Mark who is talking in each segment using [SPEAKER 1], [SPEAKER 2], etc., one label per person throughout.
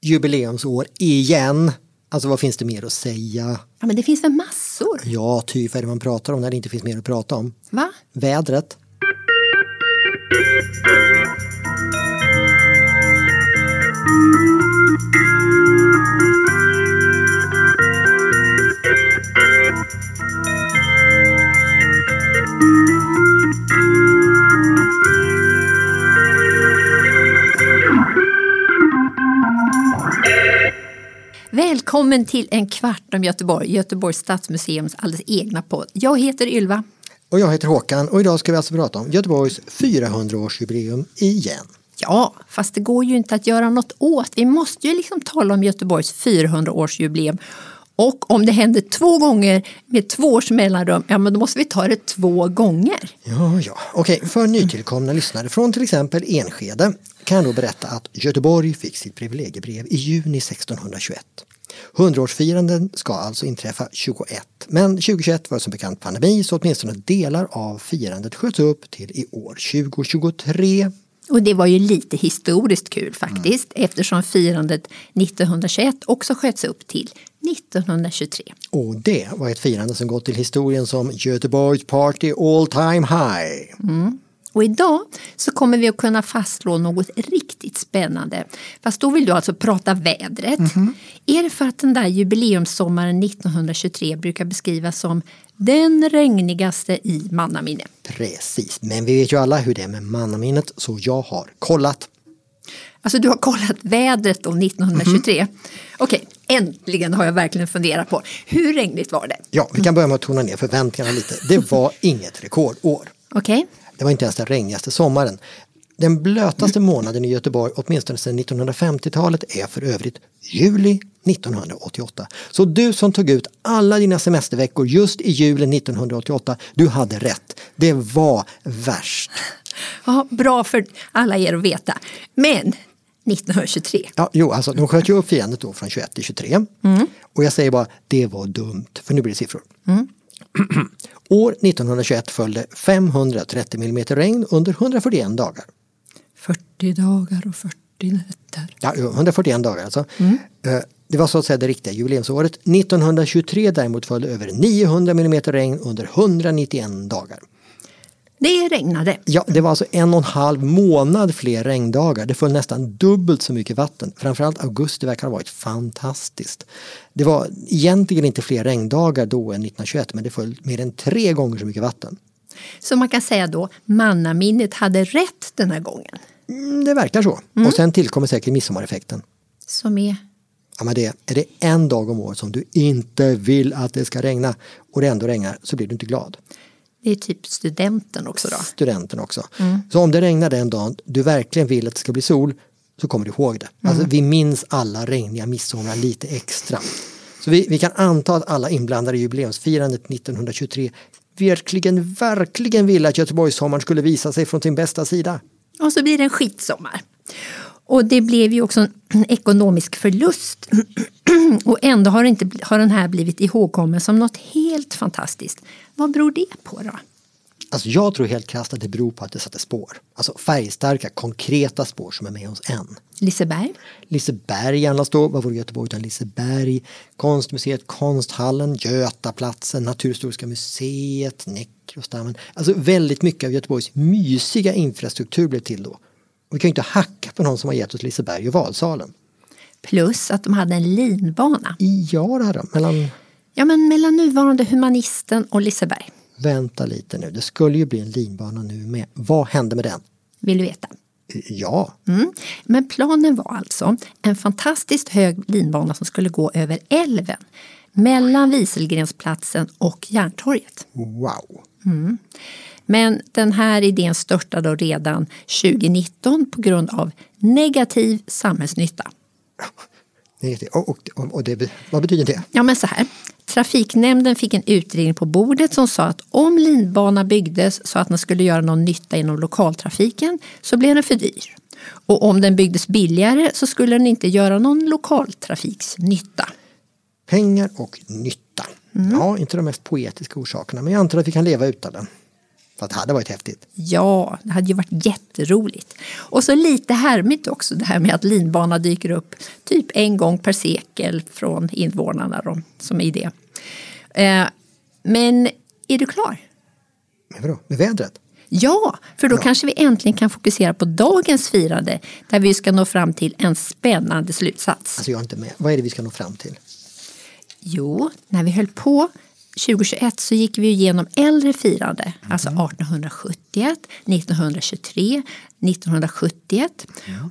[SPEAKER 1] jubileumsår igen. Alltså vad finns det mer att säga?
[SPEAKER 2] Ja, men det finns väl massor?
[SPEAKER 1] Ja, ty vad är det man pratar om när det inte finns mer att prata om?
[SPEAKER 2] Va?
[SPEAKER 1] Vädret.
[SPEAKER 2] Välkommen till En kvart om Göteborg, Göteborgs stadsmuseums alldeles egna podd. Jag heter Ylva.
[SPEAKER 1] Och jag heter Håkan och idag ska vi alltså prata om Göteborgs 400-årsjubileum igen.
[SPEAKER 2] Ja, fast det går ju inte att göra något åt. Vi måste ju liksom tala om Göteborgs 400-årsjubileum. Och om det händer två gånger med två års mellanrum, ja men då måste vi ta det två gånger.
[SPEAKER 1] Ja, ja. Okej, för nytillkomna lyssnare från till exempel Enskede kan jag då berätta att Göteborg fick sitt privilegiebrev i juni 1621. Hundraårsfiranden ska alltså inträffa 21, men 2021 var som bekant pandemi så åtminstone delar av firandet sköts upp till i år 2023.
[SPEAKER 2] Och det var ju lite historiskt kul faktiskt eftersom firandet 1921 också sköts upp till 1923.
[SPEAKER 1] Och det var ett firande som gått till historien som Göteborgs party all time high.
[SPEAKER 2] Och idag så kommer vi att kunna fastslå något riktigt spännande. Fast då vill du alltså prata vädret. Är det för att den där jubileumssommaren 1923 brukar beskrivas som den regnigaste i mannaminne?
[SPEAKER 1] Precis, men vi vet ju alla hur det är med mannaminnet så jag har kollat.
[SPEAKER 2] Alltså du har kollat vädret då 1923. Okej, äntligen har jag verkligen funderat på hur regnigt var det?
[SPEAKER 1] Ja, vi kan börja med att tona ner förväntningarna lite. Det var inget rekordår.
[SPEAKER 2] Okej,
[SPEAKER 1] Det var inte ens den regnigaste sommaren. Den blötaste månaden i Göteborg, åtminstone sedan 1950-talet, är för övrigt juli 1988. Så du som tog ut alla dina semesterveckor just i juli 1988, du hade rätt. Det var värst.
[SPEAKER 2] ja, bra för alla er att veta. Men 1923,
[SPEAKER 1] Ja, jo, alltså de sköt ju upp fiendet då från 21 till 23. Och jag säger bara, det var dumt, för nu blir det siffror. År 1921 följde 530 mm regn under 141 dagar.
[SPEAKER 2] 40 dagar och 40 nätter.
[SPEAKER 1] Ja, jo, 141 dagar alltså. Eh, Det var så att säga det riktiga jubileumsåret. 1923 däremot följde över 900 mm regn under 191 dagar.
[SPEAKER 2] Det regnade.
[SPEAKER 1] Ja, det var alltså en och en halv månad fler regndagar. Det föll nästan dubbelt så mycket vatten. Framförallt augusti verkar ha varit fantastiskt. Det var egentligen inte fler regndagar då än 1921 men det föll mer än tre gånger så mycket vatten.
[SPEAKER 2] Så man kan säga då, mannaminnet hade rätt den här gången.
[SPEAKER 1] Mm, Det verkar så. Och sen tillkommer säkert midsommareffekten.
[SPEAKER 2] Som är...
[SPEAKER 1] Ja, men det är det en dag om året som du inte vill att det ska regna och det ändå regnar så blir du inte glad.
[SPEAKER 2] Det är typ studenten också då.
[SPEAKER 1] Studenten också. Så om det regnar den dagen du verkligen vill att det ska bli sol så kommer du ihåg det. Alltså, vi minns alla regniga midsommar lite extra. Så vi, vi kan anta att alla inblandade i jubileumsfirandet 1923 verkligen, verkligen ville att Göteborgssommaren skulle visa sig från sin bästa sida.
[SPEAKER 2] Och så blir det en skitsommar. Och det blev ju också en ekonomisk förlust. Och ändå har, det inte, har den här blivit ihågkommen som något helt fantastiskt. Vad beror det på då?
[SPEAKER 1] Alltså jag tror helt krasst att det beror på att det satte spår. Alltså färgstarka, konkreta spår som är med oss än.
[SPEAKER 2] Liseberg?
[SPEAKER 1] Liseberg gärna stå, vad vore Göteborg utan Liseberg? Konstmuseet, Konsthallen, Götaplatsen, Naturhistoriska museet, Nekrostammen. Alltså väldigt mycket av Göteborgs mysiga infrastruktur blev till då. Och vi kan ju inte hacka på någon som har gett oss Liseberg och Valsalen.
[SPEAKER 2] Plus att de hade en linbana.
[SPEAKER 1] Ja, det här då, mellan...
[SPEAKER 2] Ja, men mellan nuvarande Humanisten och Liseberg.
[SPEAKER 1] Vänta lite nu, det skulle ju bli en linbana nu med. Vad hände med den?
[SPEAKER 2] Vill du veta?
[SPEAKER 1] Ja,
[SPEAKER 2] Mm. Men planen var alltså en fantastiskt hög linbana som skulle gå över älven mellan Wieselgrensplatsen och Järntorget.
[SPEAKER 1] wow.
[SPEAKER 2] Men den här idén störtade då redan 2019 på grund av negativ samhällsnytta.
[SPEAKER 1] Det är riktigt. Och, och, och det, vad betyder det?
[SPEAKER 2] Ja, men så här. Trafiknämnden fick en utredning på bordet som sa att om linbana byggdes så att den skulle göra någon nytta inom lokaltrafiken så blev den för dyr. Och om den byggdes billigare så skulle den inte göra någon lokaltrafiksnytta.
[SPEAKER 1] Pengar och nytta. Ja, inte de mest poetiska orsakerna, men jag antar att vi kan leva utan den. För det hade varit häftigt.
[SPEAKER 2] Ja, det hade ju varit jätteroligt. Och så lite härmigt också det här med att linbana dyker upp typ en gång per sekel från invånarna då, som är i det. Eh, men är du klar?
[SPEAKER 1] Men vadå, med vädret?
[SPEAKER 2] Ja, för då kanske vi äntligen kan fokusera på dagens firande där vi ska nå fram till en spännande slutsats.
[SPEAKER 1] Alltså jag är inte med. Vad är det vi ska nå fram till?
[SPEAKER 2] Jo, när vi höll på 2021 så gick vi ju igenom äldre firande, alltså 1871, 1923, 1971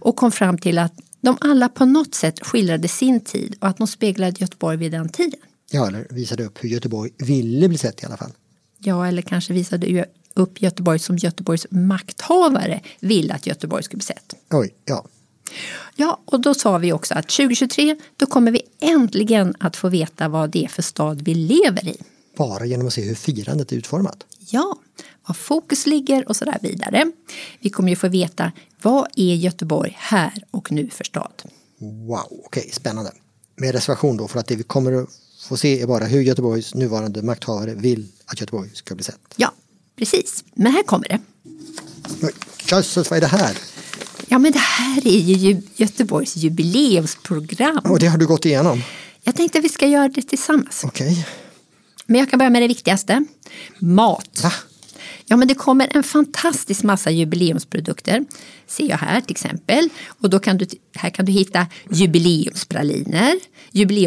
[SPEAKER 2] och kom fram till att de alla på något sätt skildrade sin tid och att de speglade Göteborg vid den tiden.
[SPEAKER 1] Ja, eller visade upp hur Göteborg ville bli sett i alla fall.
[SPEAKER 2] Ja, eller kanske visade ju upp Göteborg som Göteborgs makthavare ville att Göteborg skulle bli sett.
[SPEAKER 1] Oj, ja.
[SPEAKER 2] Ja, och då sa vi också att 2023 då kommer vi äntligen att få veta vad det är för stad vi lever i.
[SPEAKER 1] Bara genom att se hur firandet är utformat.
[SPEAKER 2] Ja, var fokus ligger och så där vidare. Vi kommer ju få veta vad är Göteborg här och nu för stad?
[SPEAKER 1] Wow, okej, spännande. Med reservation då för att det vi kommer att få se är bara hur Göteborgs nuvarande makthavare vill att Göteborg ska bli sett.
[SPEAKER 2] Ja, precis. Men här kommer det.
[SPEAKER 1] Oj, Jösses, vad är det här?
[SPEAKER 2] Ja, men det här är ju Ju- Göteborgs jubileumsprogram.
[SPEAKER 1] Och det har du gått igenom?
[SPEAKER 2] Jag tänkte att vi ska göra det tillsammans.
[SPEAKER 1] Okej.
[SPEAKER 2] Men jag kan börja med det viktigaste. Mat.
[SPEAKER 1] Va?
[SPEAKER 2] Ja, men det kommer en fantastisk massa jubileumsprodukter. Ser jag här till exempel. Och då kan du, här kan du hitta jubileumspraliner,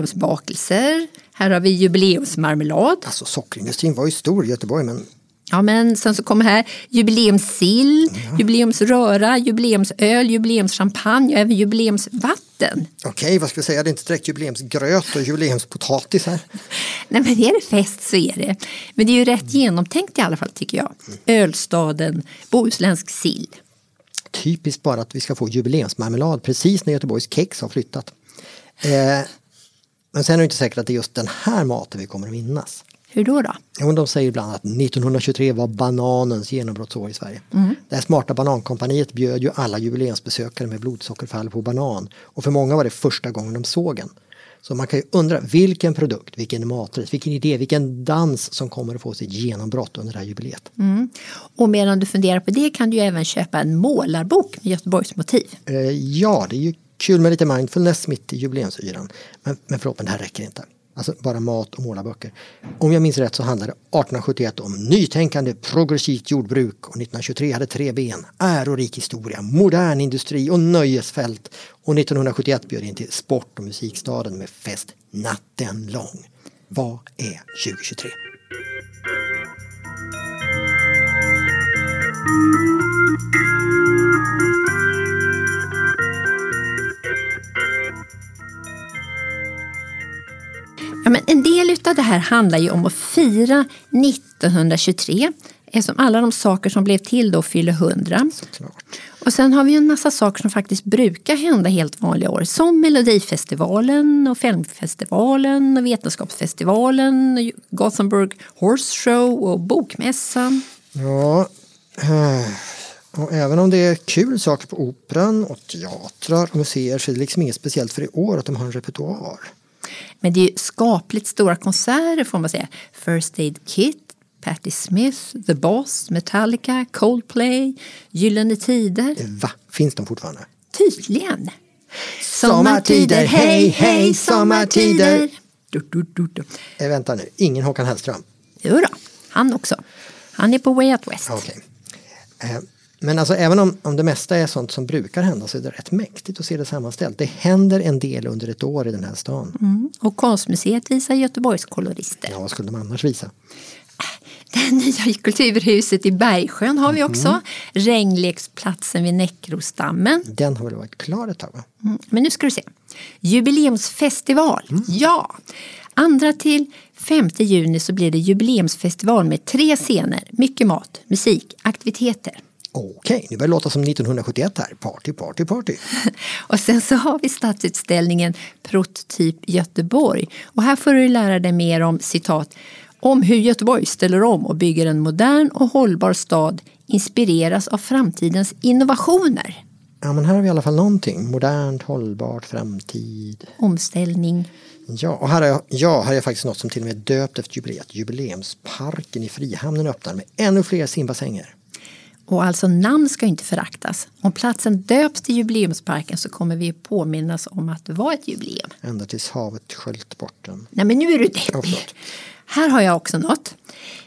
[SPEAKER 2] jubileumsbakelser. Här har vi jubileumsmarmelad.
[SPEAKER 1] Alltså sockerindustrin var ju stor i Göteborg men
[SPEAKER 2] Ja, men sen så kommer här jubileumssill, jubileumsröra, jubileumsöl, jubileumschampagne och även jubileumsvatten.
[SPEAKER 1] okej, vad ska vi säga? Det är inte direkt jubileumsgröt och jubileumspotatis här.
[SPEAKER 2] Nej, men är det fest så är det. Men det är ju rätt genomtänkt i alla fall tycker jag. Ölstaden, bohuslänsk sill.
[SPEAKER 1] Typiskt bara att vi ska få jubileumsmarmelad precis när Göteborgs kex har flyttat. Eh, men sen är det inte säkert att det är just den här maten vi kommer att minnas.
[SPEAKER 2] Hur då då?
[SPEAKER 1] Jo, de säger ibland att 1923 var bananens genombrottsår i Sverige. Det här smarta banankompaniet bjöd ju alla jubileumsbesökare med blodsockerfall på banan. Och för många var det första gången de såg en. Så man kan ju undra vilken produkt, vilken maträtt, vilken idé, vilken dans som kommer att få sitt genombrott under det här jubileet.
[SPEAKER 2] Och medan du funderar på det kan du ju även köpa en målarbok med Göteborgsmotiv.
[SPEAKER 1] Eh, ja, det är ju kul med lite mindfulness mitt i jubileumsyran. Men, men förlåt, men det här räcker inte. Alltså bara mat och målarböcker. Om jag minns rätt så handlade 1871 om nytänkande progressivt jordbruk och 1923 hade tre ben, ärorik historia, modern industri och nöjesfält. Och 1971 bjöd in till sport och musikstaden med fest natten lång. Vad är 2023?
[SPEAKER 2] Ja, men en del utav det här handlar ju om att fira 1923 eftersom alla de saker som blev till då fyller 100.
[SPEAKER 1] Klart.
[SPEAKER 2] Och sen har vi ju en massa saker som faktiskt brukar hända helt vanliga år som Melodifestivalen och Filmfestivalen och Vetenskapsfestivalen och Gothenburg Horse Show och Bokmässan.
[SPEAKER 1] Ja, eh, och även om det är kul saker på operan och teatrar och museer så är det liksom inget speciellt för i år att de har en repertoar.
[SPEAKER 2] Men det är ju skapligt stora konserter får man säga. First Aid Kit, Patti Smith, The Boss, Metallica, Coldplay, Gyllene Tider.
[SPEAKER 1] Va? Finns de fortfarande?
[SPEAKER 2] Tydligen.
[SPEAKER 1] Sommartider, hej, hej, sommartider.
[SPEAKER 2] Du, du, du, du.
[SPEAKER 1] Eh, vänta nu, ingen Håkan Hellström?
[SPEAKER 2] Jo då, han också. Han är på Way Out West.
[SPEAKER 1] Okej. Eh, men alltså även om, om det mesta är sånt som brukar hända så är det rätt mäktigt att se det sammanställt. Det händer en del under ett år i den här stan.
[SPEAKER 2] Mm. Och Konstmuseet visar Göteborgs kolorister.
[SPEAKER 1] Ja, vad skulle de annars visa?
[SPEAKER 2] Det nya kulturhuset i Bergsjön har vi också. Regnleksplatsen vid Näckrosdammen.
[SPEAKER 1] Den har väl varit klar ett tag? Va?
[SPEAKER 2] Mm, Men nu ska du se. Jubileumsfestival. Ja! Andra till 5 juni så blir det jubileumsfestival med tre scener, mycket mat, musik, aktiviteter.
[SPEAKER 1] Okej, nu börjar det låta som 1971 här. Party, party, party.
[SPEAKER 2] Och sen så har vi stadsutställningen Prototyp Göteborg. Och här får du lära dig mer om citat om hur Göteborg ställer om och bygger en modern och hållbar stad inspireras av framtidens innovationer.
[SPEAKER 1] Ja, men här har vi i alla fall någonting. Modernt, hållbart, framtid.
[SPEAKER 2] Omställning.
[SPEAKER 1] Ja, och här har jag, ja, här har jag faktiskt något som till och med är döpt efter jubileet. Jubileumsparken i Frihamnen öppnar med ännu fler simbassänger.
[SPEAKER 2] Och alltså namn ska inte föraktas. Om platsen döps till jubileumsparken så kommer vi påminnas om att det var ett jubileum.
[SPEAKER 1] Ända tills havet sköljt bort den.
[SPEAKER 2] Nej men nu är du
[SPEAKER 1] Ja,
[SPEAKER 2] deppig.
[SPEAKER 1] förlåt.
[SPEAKER 2] Här har jag också något.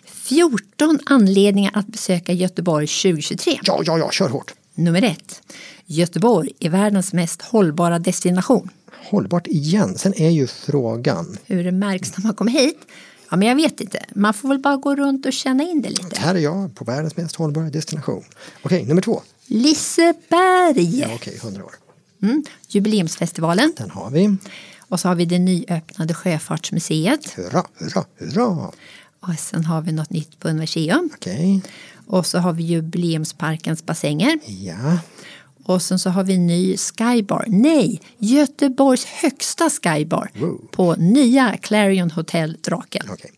[SPEAKER 2] 14 anledningar att besöka Göteborg 2023.
[SPEAKER 1] Ja, ja, ja, kör hårt.
[SPEAKER 2] Nummer ett. Göteborg är världens mest hållbara destination.
[SPEAKER 1] Hållbart igen. Sen är ju frågan.
[SPEAKER 2] Hur det märks när man kommer hit? Ja, men jag vet inte. Man får väl bara gå runt och känna in det lite.
[SPEAKER 1] Här är jag på världens mest hållbara destination. Okej, nummer två.
[SPEAKER 2] Liseberg!
[SPEAKER 1] Ja, okej, hundra år.
[SPEAKER 2] Mm. Jubileumsfestivalen.
[SPEAKER 1] Den har vi.
[SPEAKER 2] Och så har vi det nyöppnade Sjöfartsmuseet.
[SPEAKER 1] Hurra, hurra, hurra.
[SPEAKER 2] Och sen har vi något nytt på Universium.
[SPEAKER 1] Okej,
[SPEAKER 2] Och så har vi Jubileumsparkens bassänger.
[SPEAKER 1] ja.
[SPEAKER 2] Och sen så har vi ny skybar. Nej, Göteborgs högsta skybar.
[SPEAKER 1] Wow.
[SPEAKER 2] På nya Clarion Hotel Draken.
[SPEAKER 1] Okej,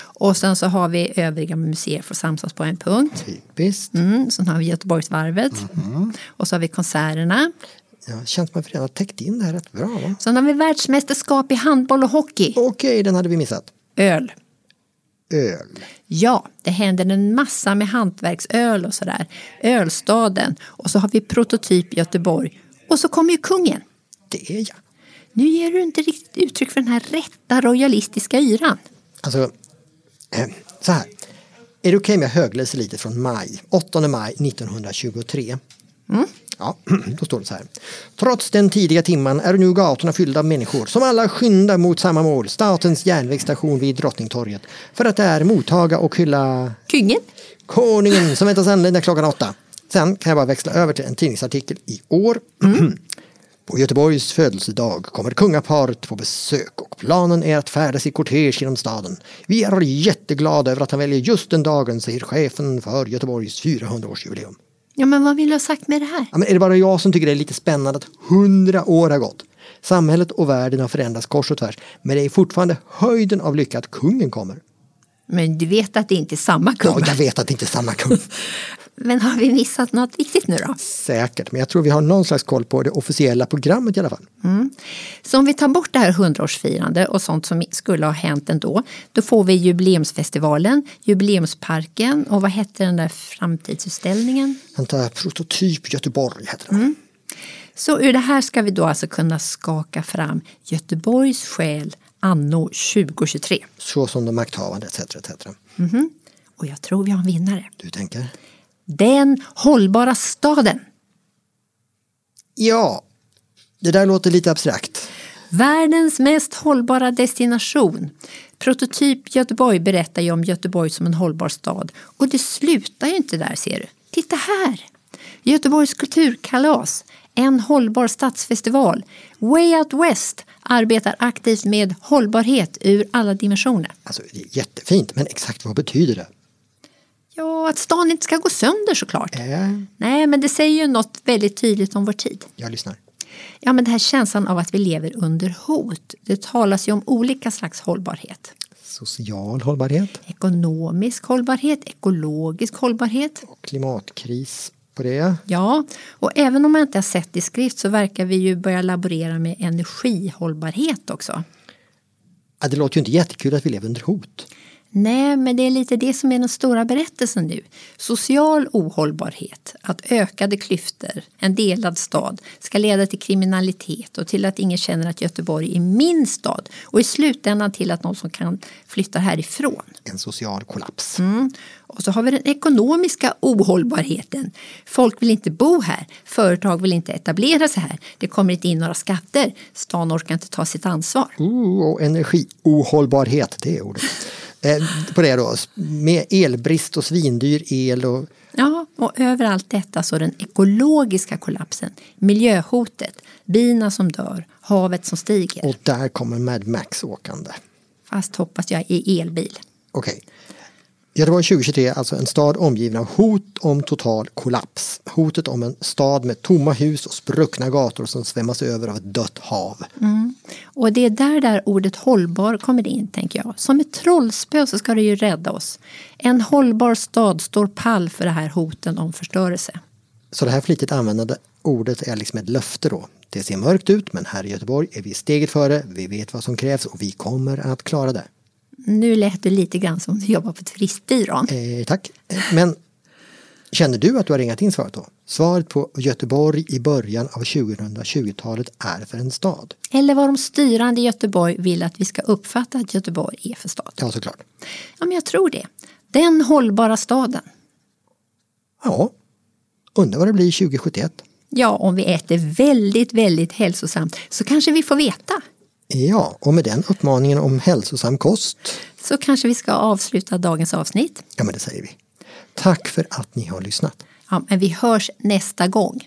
[SPEAKER 2] Och sen så har vi övriga museer får samsas på en punkt.
[SPEAKER 1] typiskt.
[SPEAKER 2] Mm, sen har vi Göteborgsvarvet.
[SPEAKER 1] Mm-hmm.
[SPEAKER 2] Och så har vi konserterna.
[SPEAKER 1] Ja, känns som att vi redan har täckt in det här rätt bra, va?
[SPEAKER 2] Sen har vi världsmästerskap i handboll och hockey.
[SPEAKER 1] Okej, den hade vi missat.
[SPEAKER 2] Öl.
[SPEAKER 1] Öl.
[SPEAKER 2] Ja, det händer en massa med hantverksöl och sådär. Ölstaden. Och så har vi prototyp Göteborg. Och så kommer ju kungen.
[SPEAKER 1] Det är jag.
[SPEAKER 2] Nu ger du inte riktigt uttryck för den här rätta royalistiska yran.
[SPEAKER 1] Alltså, eh, så här. Är det okej om jag högläser lite från maj? 8 maj 1923. Ja, då står det så här. Trots den tidiga timman är nu gatorna fyllda av människor som alla skyndar mot samma mål, statens järnvägsstation vid Drottningtorget, för att där mottaga och hylla
[SPEAKER 2] Kungen?
[SPEAKER 1] Konungen som väntas anlända klockan åtta. Sen kan jag bara växla över till en tidningsartikel i år. På Göteborgs födelsedag kommer kungaparet på besök och planen är att färdas i kortege genom staden. Vi är jätteglada över att han väljer just den dagen, säger chefen för Göteborgs 400-årsjubileum.
[SPEAKER 2] Ja, men vad vill du ha sagt med det här?
[SPEAKER 1] Ja, men är det bara jag som tycker det är lite spännande att 100 år har gått? Samhället och världen har förändrats kors och tvärs, men det är fortfarande höjden av lycka att kungen kommer.
[SPEAKER 2] Men du vet att det inte är samma kung?
[SPEAKER 1] Ja, jag vet att det inte är samma kung.
[SPEAKER 2] Men har vi missat något viktigt nu då?
[SPEAKER 1] Säkert, men jag tror vi har någon slags koll på det officiella programmet i alla fall.
[SPEAKER 2] Så om vi tar bort det här hundraårsfirande och sånt som skulle ha hänt ändå, då får vi jubileumsfestivalen, jubileumsparken och vad hette den där framtidsutställningen?
[SPEAKER 1] Vänta, prototyp Göteborg heter den.
[SPEAKER 2] Så ur det här ska vi då alltså kunna skaka fram Göteborgs själ anno 2023.
[SPEAKER 1] Så som de makthavande etc. etc.
[SPEAKER 2] Och jag tror vi har en vinnare.
[SPEAKER 1] Du tänker?
[SPEAKER 2] Den hållbara staden.
[SPEAKER 1] Ja, det där låter lite abstrakt.
[SPEAKER 2] Världens mest hållbara destination. Prototyp Göteborg berättar ju om Göteborg som en hållbar stad. Och det slutar ju inte där ser du. Titta här! Göteborgs kulturkalas, en hållbar stadsfestival. Way Out West arbetar aktivt med hållbarhet ur alla dimensioner.
[SPEAKER 1] Alltså, det är jättefint, men exakt vad betyder det?
[SPEAKER 2] Ja, att stan inte ska gå sönder såklart.
[SPEAKER 1] Eh,
[SPEAKER 2] Nej, men det säger ju något väldigt tydligt om vår tid.
[SPEAKER 1] jag lyssnar.
[SPEAKER 2] Ja, men den här känslan av att vi lever under hot. Det talas ju om olika slags hållbarhet.
[SPEAKER 1] Social hållbarhet
[SPEAKER 2] Ekonomisk hållbarhet, ekologisk hållbarhet.
[SPEAKER 1] och klimatkris på det.
[SPEAKER 2] Ja, och även om man inte har sett det i skrift så verkar vi ju börja laborera med energihållbarhet också.
[SPEAKER 1] Ja, det låter ju inte jättekul att vi lever under hot.
[SPEAKER 2] Nej, men det är lite det som är den stora berättelsen nu. Social ohållbarhet, att ökade klyftor, en delad stad, ska leda till kriminalitet och till att ingen känner att Göteborg är min stad och i slutändan till att någon som kan flytta härifrån.
[SPEAKER 1] En social kollaps.
[SPEAKER 2] Och så har vi den ekonomiska ohållbarheten. Folk vill inte bo här, företag vill inte etablera sig här, det kommer inte in några skatter, stan orkar inte ta sitt ansvar.
[SPEAKER 1] Ooh, och energiohållbarhet, det är ordet. Eh, på det då, med elbrist och svindyr el och
[SPEAKER 2] Ja, och överallt detta så den ekologiska kollapsen, miljöhotet, bina som dör, havet som stiger.
[SPEAKER 1] Och där kommer Mad Max åkande.
[SPEAKER 2] Fast hoppas jag i elbil.
[SPEAKER 1] Okej. Göteborg 2023 är alltså en stad omgiven av hot om total kollaps. Hotet om en stad med tomma hus och spruckna gator som svämmas över av ett dött hav.
[SPEAKER 2] Och det är där, där ordet hållbar kommer in, tänker jag. Som ett trollspö så ska det ju rädda oss. En hållbar stad står pall för det här hoten om förstörelse.
[SPEAKER 1] Så det här flitigt användande ordet är liksom ett löfte då. Det ser mörkt ut, men här i Göteborg är vi steget före. Vi vet vad som krävs och vi kommer att klara det.
[SPEAKER 2] Nu lät det lite grann som du jobbar på turistbyrån.
[SPEAKER 1] Eh, tack. Men känner du att du har ringat in svaret då? Svaret på Göteborg i början av 2020-talet är för en stad.
[SPEAKER 2] Eller vad de styrande i Göteborg vill att vi ska uppfatta att Göteborg är för stad.
[SPEAKER 1] Ja, såklart.
[SPEAKER 2] Ja, men jag tror det. Den hållbara staden.
[SPEAKER 1] Ja, undrar vad det blir 2071.
[SPEAKER 2] Ja, om vi äter väldigt, väldigt hälsosamt så kanske vi får veta.
[SPEAKER 1] Ja, och med den uppmaningen om hälsosam kost.
[SPEAKER 2] Så kanske vi ska avsluta dagens avsnitt.
[SPEAKER 1] Ja, men det säger vi. Tack för att ni har lyssnat.
[SPEAKER 2] Ja, men vi hörs nästa gång.